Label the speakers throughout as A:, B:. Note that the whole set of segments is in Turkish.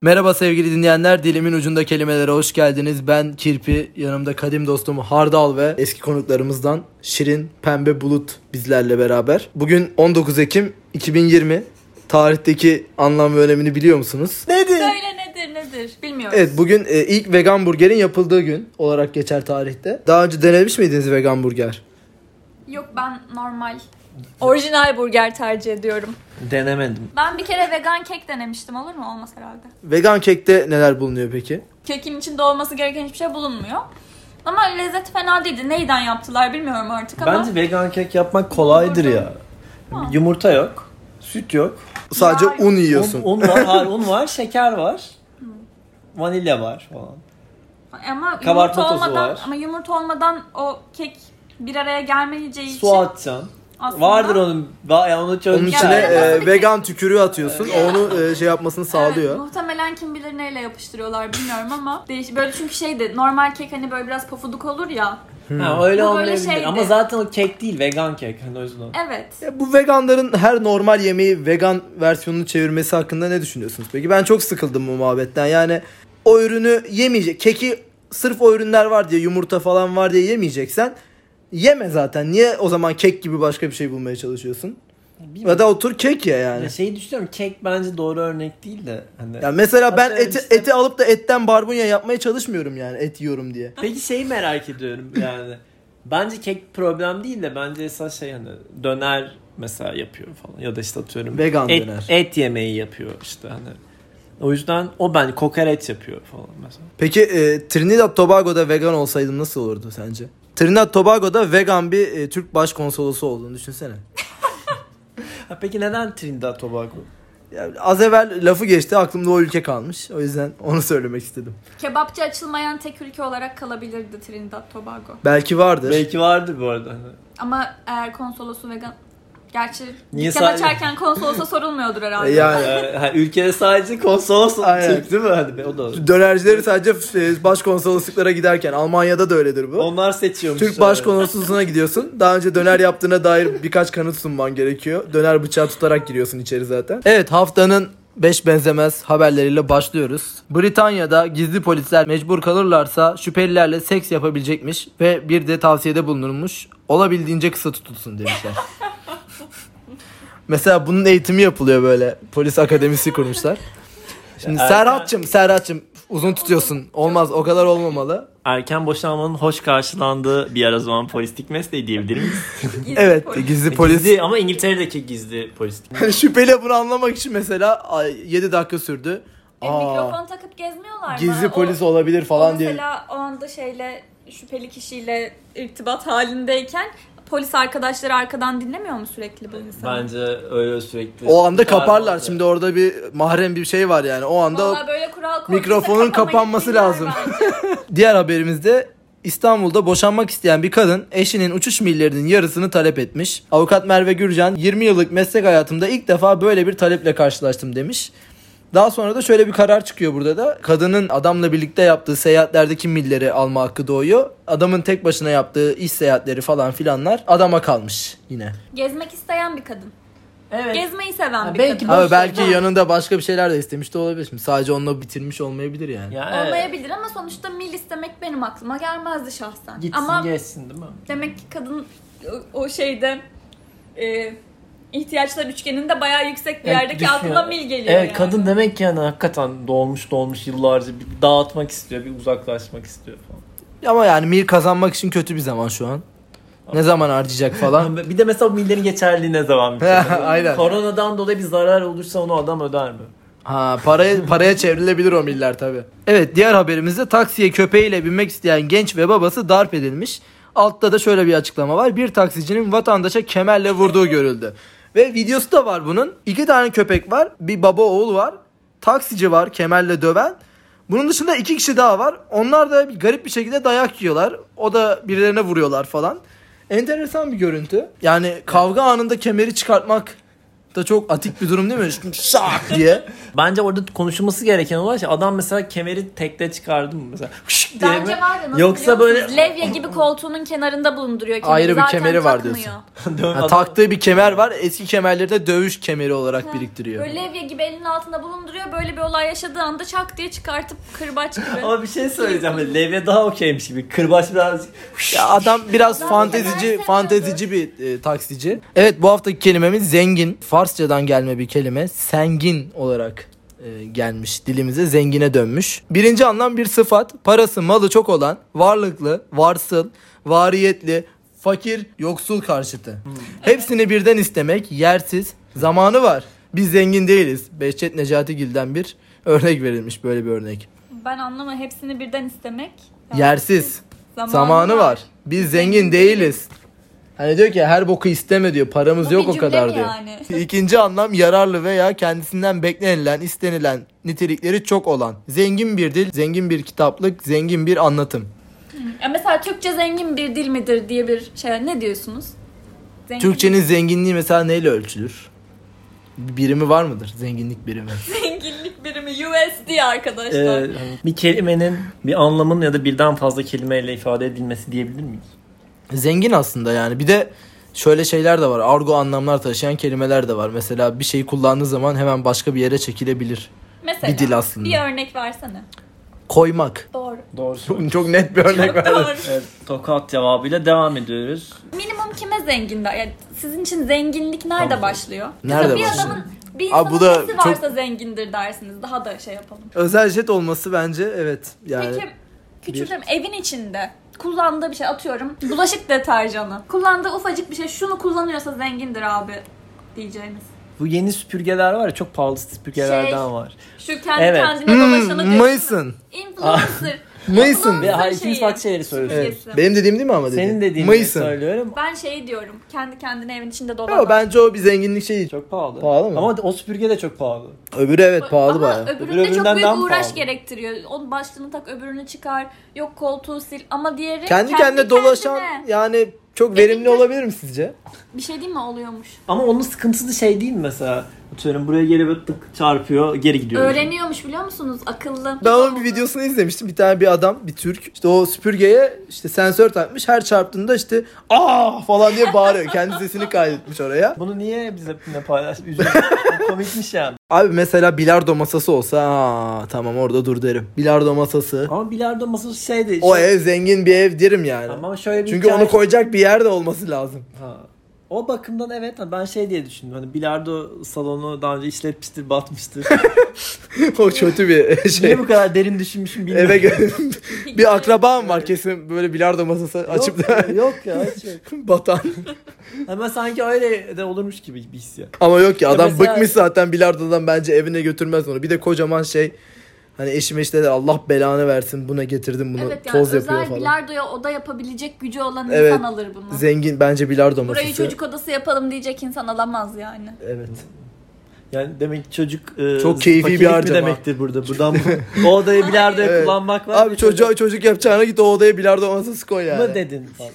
A: Merhaba sevgili dinleyenler. Dilimin ucunda kelimelere hoş geldiniz. Ben Kirpi, yanımda kadim dostum Hardal ve eski konuklarımızdan Şirin Pembe Bulut bizlerle beraber. Bugün 19 Ekim 2020. Tarihteki anlam ve önemini biliyor musunuz? Nedir?
B: Söyle nedir nedir bilmiyorum.
A: Evet bugün e, ilk vegan burgerin yapıldığı gün olarak geçer tarihte. Daha önce denemiş miydiniz vegan burger?
B: Yok ben normal orijinal burger tercih ediyorum.
C: Denemedim.
B: Ben bir kere vegan kek denemiştim olur mu? Olmaz herhalde.
A: Vegan kekte neler bulunuyor peki?
B: Kekin içinde olması gereken hiçbir şey bulunmuyor. Ama lezzeti fena değildi. Neyden yaptılar bilmiyorum artık ama.
C: Bence vegan kek yapmak kolaydır ya.
B: Ha.
C: Yumurta yok, süt yok.
A: Sadece
B: Ya-
A: un
C: Un,
A: yiyorsun.
C: un var, har- un var, şeker var. Vanilya var falan.
B: Ama
C: Kabartma
B: yumurta
C: tozu
B: olmadan
C: var.
B: ama yumurta olmadan o kek bir araya gelmeyeceği için
C: Su atacaksın.
B: aslında
C: Vardır onun. va- Yani onu
A: Onun
C: çözmüşler.
A: içine
B: Ya ben
A: e,
B: nasıl bir
A: vegan tükürüğü atıyorsun. O Onu e, şey yapmasını sağlıyor.
B: Evet, muhtemelen kim bilir neyle yapıştırıyorlar bilmiyorum ama değiş böyle çünkü şeydi normal kek hani böyle biraz pofuduk olur ya.
A: hmm.
C: Ha, öyle
B: Bu böyle
C: olmayabilir.
B: şeydi.
C: Ama zaten o kek değil, vegan kek. Hani o yüzden.
B: Evet.
A: Ya E, bu veganların her normal yemeği vegan versiyonunu çevirmesi hakkında ne düşünüyorsunuz? Peki ben çok sıkıldım bu muhabbetten. Yani o ürünü yemeyecek. Keki sırf o ürünler var diye yumurta falan var diye yemeyeceksen yeme zaten. Niye o zaman kek gibi başka bir şey bulmaya çalışıyorsun? Ya
C: Bilmiyorum.
A: da otur kek ya yani.
C: Yani şeyi düşünüyorum. Kek bence doğru örnek değil de. Hani...
A: Ya mesela ben
C: Hatta
A: eti,
C: işte-
A: eti alıp da etten barbunya yapmaya çalışmıyorum yani et yiyorum diye.
C: Peki şeyi merak ediyorum yani. Bence kek problem değil de bence esas şey hani döner mesela yapıyor falan ya da işte atıyorum
A: Vegan
C: et,
A: döner.
C: et yemeği yapıyor işte hani. O yüzden o ben kokoreç yapıyor falan mesela.
A: Peki e, Trinidad Tobago'da vegan olsaydım nasıl olurdu sence? Trinidad Tobago'da vegan bir e, Türk başkonsolosu olduğunu düşünsene.
C: Ha, peki neden Trinidad Tobago?
A: Ya, az evvel lafı geçti aklımda o ülke kalmış. O yüzden onu söylemek istedim.
B: Kebapçı açılmayan tek ülke olarak kalabilirdi Trinidad Tobago.
A: Belki vardır.
C: Belki vardı bu arada. Hani.
B: Ama eğer konsolosu vegan... Gerçi
C: Niye
B: dükkan
C: sadece-
B: açarken konsolosa sorulmuyordur herhalde.
A: E, yani
C: Yani, Ee, ha, ülkede sadece konsolos
A: Aynen.
C: Türk değil mi? Hani, o da olur.
A: dönercileri sadece e, başkonsolosluklara giderken Almanya'da da öyledir bu.
C: Onlar seçiyormuş.
A: Türk başkonsolosluğuna gidiyorsun. Daha önce döner yaptığına dair birkaç kanıt sunman gerekiyor. Döner bıçağı tutarak giriyorsun içeri zaten. Evet haftanın 5 benzemez haberleriyle başlıyoruz. Britanya'da gizli polisler mecbur kalırlarsa şüphelilerle seks yapabilecekmiş ve bir de tavsiyede bulunulmuş. Olabildiğince kısa tutulsun demişler. Mesela bunun eğitimi yapılıyor böyle. Polis akademisi kurmuşlar. Şimdi
C: Erken-
A: Serhat'cığım, Serhat'cığım uzun tutuyorsun. Olmaz o kadar olmamalı.
D: erken boşanmanın hoş karşılandığı bir yer o zaman polistik mesleği diyebilir miyiz?
B: Gizli
A: Evet
B: polis.
A: gizli polis.
D: Gizli ama İngiltere'deki gizli polistik.
A: Hani şüpheli bunu anlamak için mesela 7 dakika sürdü.
B: E,
A: Aa,
B: mikrofon takıp gezmiyorlar mı?
A: gizli
B: O-
A: polis olabilir
B: o
A: falan diye.
B: Mesela o anda şeyle şüpheli kişiyle irtibat halindeyken polis arkadaşları arkadan dinlemiyor mu sürekli bu insanı?
C: Bence öyle sürekli.
A: O anda kaparlar.
C: Var.
A: Şimdi orada bir mahrem bir şey var yani. O anda
B: Vallahi böyle kural koyduysa
A: mikrofonun
B: kapamayı
A: kapanması
B: bilirler
A: lazım.
B: bence.
A: diğer haberimizde İstanbul'da boşanmak isteyen bir kadın eşinin uçuş millerinin yarısını talep etmiş. Avukat Merve Gürcan 20 yıllık meslek hayatımda ilk defa böyle bir taleple karşılaştım demiş. Daha sonra da şöyle bir karar çıkıyor burada da. Kadının adamla birlikte yaptığı seyahatlerdeki milleri alma hakkı doğuyor. Adamın tek başına yaptığı iş seyahatleri falan filanlar adama kalmış yine.
B: Gezmek isteyen bir kadın.
C: Evet.
B: Gezmeyi seven
C: Ha,
B: bir
C: belki
B: kadın.
C: Boş
A: Ama belki
C: yapma.
A: yanında başka bir şeyler de istemiş de olabilir. Şimdi sadece onunla bitirmiş olmayabilir yani.
C: Ya, evet.
B: Olmayabilir ama sonuçta mil istemek benim aklıma gelmezdi şahsen.
C: Gitsin
B: ama
C: gezsin değil mi?
B: demek ki kadın o, o şeyde e, ihtiyaçlar üçgeninde bayağı yüksek bir
C: Evet,
B: yerdeki
C: düşüyor.
B: aklına mil geliyor
C: Evet
B: yani.
C: kadın demek ki yani hakikaten dolmuş dolmuş yıllarca bir dağıtmak istiyor, bir uzaklaşmak istiyor falan.
A: Ama yani mil kazanmak için kötü bir zaman şu an. Ne zaman harcayacak falan.
C: Lan Bir de mesela bu millerin geçerliliği ne zaman bitiyor?
A: Aynen.
C: Koronadan dolayı bir zarar olursa onu adam öder mi?
A: Ha paraya paraya çevrilebilir o miller tabi. Evet diğer haberimizde taksiye köpeğiyle binmek isteyen genç ve babası darp edilmiş. Altta da şöyle bir açıklama var. Bir taksicinin vatandaşa kemerle vurduğu görüldü. Ve videosu da var bunun. İki tane köpek var. Bir baba oğul var. Taksici var kemerle döven. Bunun dışında iki kişi daha var. Onlar da bir garip bir şekilde dayak yiyorlar. O da birilerine vuruyorlar falan. Enteresan bir görüntü. Yani kavga anında kemeri çıkartmak da çok atik bir durum değil mi? Şak diye.
C: Bence orada konuşulması gereken olan şey adam mesela kemeri tekte çıkardı mı mesela? Hşş diye
B: Bence
C: mi?
B: var da nasıl
C: Yoksa
B: Yoksa
C: böyle
B: böyle Levye gibi koltuğunun kenarında bulunduruyor kemeri.
A: Ayrı bir
B: Zaten
A: kemeri var
B: takmıyor.
A: diyorsun.
C: Dön
A: Ha,
C: adam-
A: taktığı bir kemer var. Eski kemerleri de dövüş kemeri olarak biriktiriyor.
B: Böyle levye gibi elinin altında bulunduruyor. Böyle bir olay yaşadığı anda çak diye çıkartıp kırbaç gibi.
D: Ama bir şey söyleyeceğim. Böyle Levye daha okeymiş gibi. Kırbaç birazcık.
A: Ya adam biraz
B: Adam
A: fantezici,
B: kemer
A: fantezici bir e, taksici. Evet bu haftaki kelimemiz zengin. Farsçadan gelme bir kelime. Sengin olarak e, gelmiş dilimize zengine dönmüş. Birinci anlam bir sıfat. Parası, malı çok olan, varlıklı, varsıl, variyetli, fakir, yoksul karşıtı. Hepsini birden istemek yersiz, zamanı var. Biz zengin değiliz. Behçet Necati Gil'den bir örnek verilmiş böyle bir örnek.
B: Ben anlama hepsini birden istemek.
A: Yersiz. Zamanı var. Biz zengin değiliz. Hani diyor ki her boku isteme diyor. Paramız
B: Bu
A: yok
B: bir
A: o
B: cümle
A: kadar
B: mi
A: diyor.
B: yani?
A: İkinci anlam yararlı veya kendisinden beklenilen, istenilen nitelikleri çok olan. Zengin bir dil, zengin bir kitaplık, zengin bir anlatım.
B: Ya mesela Türkçe zengin bir dil midir diye bir şey. Ne diyorsunuz? Zengin.
A: Türkçenin zenginliği mesela neyle ölçülür? Bir Birimi var mıdır? Zenginlik birimi.
B: Zenginlik birimi USD
C: Ee,
B: arkadaşlar.
C: hani
D: Bir kelimenin bir anlamın ya da birden fazla kelimeyle ifade edilmesi diyebilir miyiz?
A: Zengin aslında yani. Bir de şöyle şeyler de var. Argo anlamlar taşıyan kelimeler de var. Mesela bir şeyi kullandığı zaman hemen başka bir yere çekilebilir.
B: mesela
A: bir dil aslında.
B: Bir örnek versene.
A: Koymak.
B: Doğru.
D: Doğru.
A: Çok, çok net bir örnek verdim.
B: Doğru.
D: Evet, tokat cevabıyla devam ediyoruz.
B: Minimum kime zengin? de- Yani sizin için zenginlik nerede
D: Tamam.
B: başlıyor?
A: Nerede
B: Mesela bir
A: başlıyor?
B: adamın bir
A: Aa,
B: insanın
A: bu da
B: nesi
A: çok-
B: varsa zengindir dersiniz. Daha da şey yapalım.
A: Özel jet olması bence evet. Yani
B: Peki küçültelim evin içinde kullandığı bir şey atıyorum bulaşık deterjanı. Kullandığı ufacık bir şey şunu kullanıyorsa zengindir abi diyeceğimiz.
C: bu yeni süpürgeler var ya çok pahalı süpürgelerden
B: Şey,
C: var.
B: Şu kendi
C: Evet.
B: kendine dolaşanı
A: hmm,
B: diyorsun.
A: Mason.
B: Influencer.
A: Mason.
B: Ve
C: Ve
B: hayır,
C: hayır,
B: ikimiz
C: ikimiz
B: farklı
C: farklı şeyleri söylüyoruz.
A: Ah. Evet.
B: Kesin.
A: Benim dediğim değil mi ama dedi?
C: Senin dediğin gibi
A: Mason.
C: söylüyorum.
B: ben şey diyorum kendi kendine evin içinde dolanan.
A: Yo, bence o bir zenginlik şeyi.
C: Çok pahalı.
A: Pahalı mı?
C: Ama o süpürge de çok pahalı.
A: Öbürü evet pahalı
B: Ama
A: bayağı.
B: öbüründe
C: Öbürü
B: çok
C: öbüründen
B: büyük
C: daha mı
B: uğraş
C: pahalı?
B: gerektiriyor. Onun başlığını tak öbürünü çıkar. Yok koltuğu sil ama diğeri
A: Kendi kendine dolaşan
B: kendine.
A: yani çok
B: Benim
A: verimli
B: de-
A: olabilir mi sizce?
B: Bir şey değil mi oluyormuş?
C: Ama onun sıkıntısı şey değil mi mesela? Atıyorum buraya geri böyle tık çarpıyor geri gidiyor.
B: Öğreniyormuş biliyor musunuz? Akıllı.
A: Ben onun bir videosunu izlemiştim. Bir tane bir adam, bir Türk. İşte o süpürgeye işte sensör takmış. Her çarptığında işte aa falan diye bağırıyor. Kendi sesini kaydetmiş oraya.
C: Bunu niye bize bizimle paylaş? Üzüldüm. Komikmiş yani.
A: Abi mesela bilardo masası olsa aa, tamam orada dur derim. Bilardo masası.
C: Ama bilardo masası şeydi.
A: O ev zengin bir ev derim yani.
C: Şey- Ama şöyle bir
A: Çünkü
C: hikaye-
A: onu koyacak bir yer de olması lazım.
C: Ha. O bakımdan evet ben şey diye düşündüm. Hani bilardo salonu daha önce işletmiştir, batmıştır.
A: o kötü bir şey.
C: Niye bu kadar derin düşünmüşüm bilmiyorum.
A: Eve gel- bir akrabam var kesin böyle bilardo masası açıp
C: Yok,
A: da
C: ya, yok ya. hiç yok.
A: batan.
C: Ama sanki öyle de olurmuş gibi bir hissiyat.
A: Ama yok ya adam
C: mesela-
A: bıkmış zaten bilardodan bence evine götürmez onu. Bir de kocaman şey hani eşime işte de Allah belanı versin buna getirdim bunu
B: Evet yani
A: toz yapıyor
B: özel
A: falan.
B: bilardoya oda yapabilecek gücü olan
A: Evet.
B: insan alır bunu.
A: Zengin bence bilardo masası.
B: Burayı çocuk odası yapalım diyecek insan alamaz yani.
A: Evet.
C: Yani demek ki çocuk e,
A: Çok keyfi bir
C: fakirlik mi
A: harcama.
C: demektir burada. Buradan bu- o odayı bilardoya
A: Evet.
C: kullanmak var.
A: Abi çocuğa çocuk yapacağına git o odaya bilardo masası koy
C: mı
A: yani.
C: dedin falan.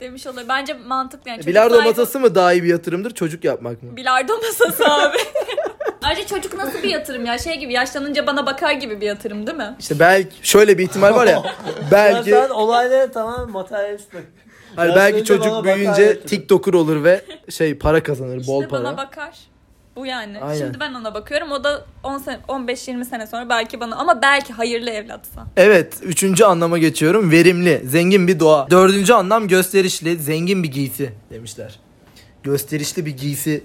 B: Demiş oluyor. Bence mantıklı yani. Çocuk
A: Bilardo
B: sahibi-
A: masası mı daha iyi bir yatırımdır çocuk yapmak mı?
B: Bilardo masası abi. Ayrıca çocuk nasıl bir yatırım ya? Şey gibi yaşlanınca bana bakar gibi bir yatırım değil mi?
A: İşte belki şöyle bir ihtimal var ya.
C: Ya
A: belki
C: sen olaylara tamam materyalist bak.
A: Hayır
C: Ya
A: belki
C: söyle
A: çocuk
C: bana bakar
A: büyüyünce
C: götürün.
A: TikToker olur ve şey para kazanır,
B: İşte
A: bol para.
B: bana bakar. Bu yani.
A: Aynen.
B: Şimdi ben ona bakıyorum. O da 10 sene, 15-20 sene sonra belki bana ama belki hayırlı evlatsa.
A: Evet, üçüncü anlama geçiyorum. Verimli, zengin bir doğa. Dördüncü anlam gösterişli, zengin bir giysi demişler. Gösterişli bir giysi.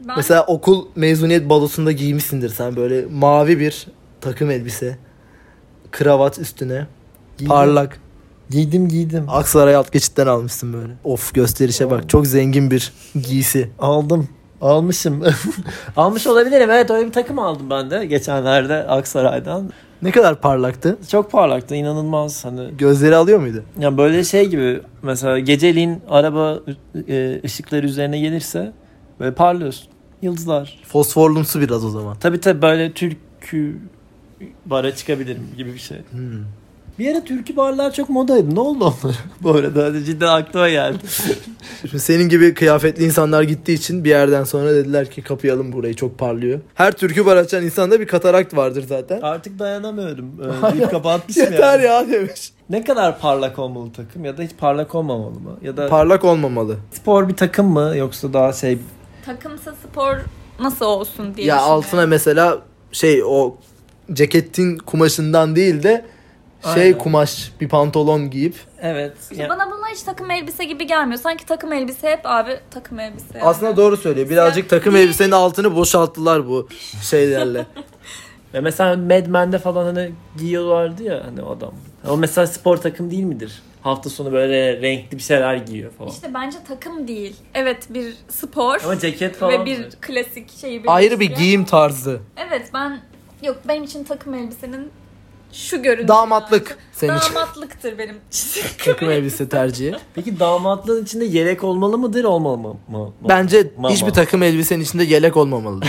B: Ben
A: Mesela okul mezuniyet balosunda giymişsindir sen böyle mavi bir takım elbise. Kravat üstüne.
C: Giydim.
A: Parlak.
C: Giydim giydim.
A: Aksaray alt geçitten almışsın böyle. Of gösterişe bak. Çok zengin bir giysi.
C: Aldım. Almışım. Almış olabilirim. Evet öyle bir takım aldım ben de geçenlerde Aksaray'dan.
A: Ne kadar parlaktı?
C: Çok parlaktı inanılmaz hani.
A: Gözleri alıyor muydu?
C: Ya böyle şey gibi mesela geceliğin araba e, ışıkları üzerine gelirse böyle parlıyorsun. Yıldızlar.
A: Fosforlumsu biraz o zaman.
C: Tabii tabii böyle türkü bara çıkabilirim gibi bir şey.
A: Hmm.
C: Bir ara türkü barlar çok modaydı. Ne oldu onlara? Bu arada hani cidden aklıma geldi.
A: Şimdi senin gibi kıyafetli insanlar gittiği için bir yerden sonra dediler ki kapayalım burayı çok parlıyor. Her türkü bar açan insanda bir katarakt vardır zaten.
C: Artık dayanamıyordum. Ee, deyip kapatmışım
A: Yeter
C: yani.
A: ya demiş.
C: Ne kadar parlak olmalı takım ya da hiç parlak olmamalı mı? Ya da
A: Parlak olmamalı.
C: spor bir takım mı yoksa daha şey
B: Takımsa spor nasıl olsun diye
A: ya
B: düşünüyorum.
A: altına mesela şey o ceketin kumaşından değil de şey
C: Aynen.
A: kumaş bir pantolon giyip
C: evet
B: İşte Bana bunlar hiç takım elbise gibi gelmiyor. Sanki takım elbise hep abi takım elbise.
A: aslında doğru söylüyor. Birazcık takım
B: Değil.
A: elbisenin altını boşalttılar bu şeylerle.
C: Ya mesela Mad Men'de falan hani giyiyorlardı ya hani o adam. O mesela spor takım değil midir? Hafta sonu böyle renkli bir şeyler giyiyor falan.
B: İşte bence takım değil. Evet bir spor
C: Ama ceket falan.
B: ve bir klasik şeyi
A: Ayrı bir şey.
B: birleştiriyor.
A: giyim tarzı.
B: Evet ben yok benim için takım elbisenin şu görüntüsü.
A: Damatlık senin için
B: Damatlıktır benim çizim.
A: takım elbise tercihi.
C: Peki damatlığın içinde yelek olmalı mıdır olmamalı mı? mı?
A: Bence
C: Mama.
A: hiçbir takım elbisenin içinde yelek olmamalı.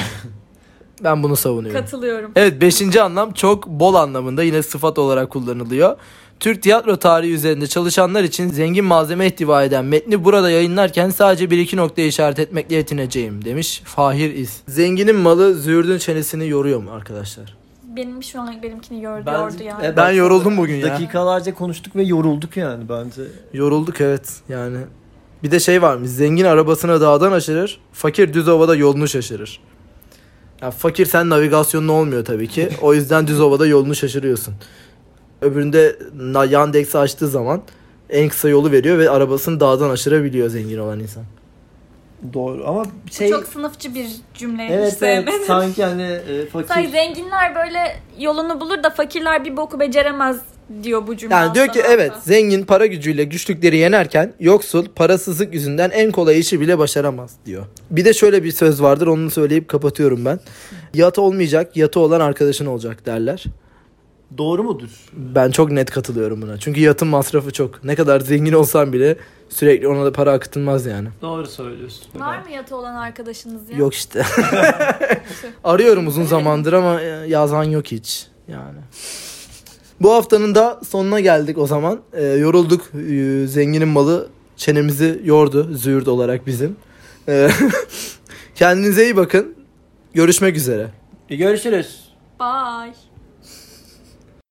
A: ben bunu savunuyorum.
B: Katılıyorum.
A: Evet beşinci anlam çok bol anlamında yine sıfat olarak kullanılıyor. Türk tiyatro tarihi üzerinde çalışanlar için zengin malzeme ihtiva eden metni burada yayınlarken sadece bir iki noktaya işaret etmekle yetineceğim demiş Fahir İz. Zenginin malı züğürdün çenesini yoruyor mu arkadaşlar?
B: Benim şu an benimkini gördü
C: Bence-
B: yordu yani.
C: e,
A: Ben yoruldum bugün ya.
C: Dakikalarca konuştuk ve yorulduk yani bence.
A: Yorulduk evet yani. Bir de şey varmış zengin arabasını dağdan aşırır, fakir düz ovada yolunu şaşırır. Ya fakir sen navigasyonun olmuyor tabii ki. O yüzden düz ovada yolunu şaşırıyorsun. Öbüründe na- Yandex'i açtığı zaman en kısa yolu veriyor ve arabasını dağdan aşırabiliyor zengin olan insan.
C: Doğru ama
B: Bu
C: şey
B: çok sınıfçı bir cümle.
C: evet
B: Hiç
C: evet
B: sevmedim.
C: sanki hani e,
B: Say
C: fakir
B: zenginler böyle yolunu bulur da fakirler bir boku beceremez diyor bu cümle.
A: Yani diyor ki
B: aslında.
A: evet zengin para gücüyle güçlükleri yenerken yoksul parasızlık yüzünden en kolay işi bile başaramaz diyor. Bir de şöyle bir söz vardır onu söyleyip kapatıyorum ben. Yatı olmayacak yatı olan arkadaşın olacak derler.
C: doğru mudur?
A: Ben çok net katılıyorum buna. Çünkü yatın masrafı çok. Ne kadar zengin olsan bile sürekli ona da para akıtılmaz yani.
C: Doğru söylüyorsun.
B: Var mı yatı olan arkadaşınız ya?
A: Yok işte. Arıyorum uzun zamandır ama e, yazan yok hiç. Yani. Bu haftanın da sonuna geldik o zaman. E, yorulduk. E, zenginin malı çenemizi yordu. Züğürt olarak bizim. E, kendinize iyi bakın. Görüşmek üzere.
C: E, görüşürüz.
B: Bye.